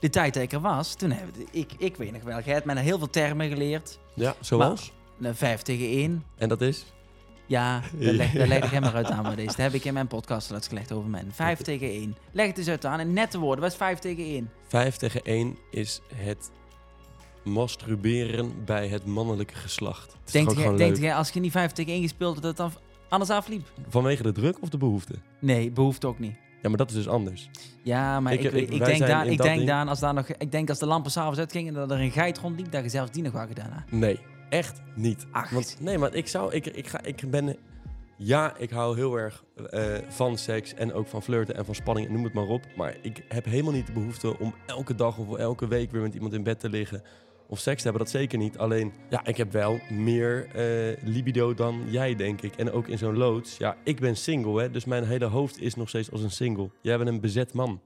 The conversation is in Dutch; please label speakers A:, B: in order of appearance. A: de tijd dat ik er was, toen heb ik, ik weet nog wel, Gert, met heel veel termen geleerd.
B: Ja, zoals?
A: Nou, Vijf tegen één.
B: en dat is?
A: Ja, dat leg, dat leg ik hem eruit aan. Maar deze. Dat heb ik in mijn podcast laatst gelegd over men. Vijf tegen één. Leg het eens uit aan. In nette woorden, wat is vijf tegen één?
B: 5 tegen 1 is het masturberen bij het mannelijke geslacht. Het is
A: Denkt
B: toch
A: jij,
B: ook gewoon
A: denkt
B: leuk?
A: jij, als je niet vijf tegen één gespeeld had, dat het dan anders afliep?
B: Vanwege de druk of de behoefte?
A: Nee, behoeft ook niet.
B: Ja, maar dat is dus anders.
A: Ja, maar
B: Ik-
A: ik,
B: ik-
A: weet- ik,
B: wij
A: denk,
B: zijn
A: daar,
B: in
A: ik
B: dat
A: denk
B: ding-
A: daar, als daar nog, ik denk als de lampen s'avonds uitgingen en dat er een geit rondliep, dat je zelfs die nog wel gedaan had.
B: Nee, echt niet.
A: Acht.
B: Want nee, maar ik zou, ik, ik ga, ik ben, ja, ik hou heel erg eh, van seks en ook van flirten en van spanning en noem het maar op. Maar ik heb helemaal niet de behoefte om elke dag of elke week weer met iemand in bed te liggen of seks te hebben. Dat zeker niet. Alleen, ja, ik heb wel meer eh, libido dan jij, denk ik. En ook in zo'n loods. Ja, ik ben single, hè, dus mijn hele hoofd is nog steeds als een single. Jij bent een bezet man.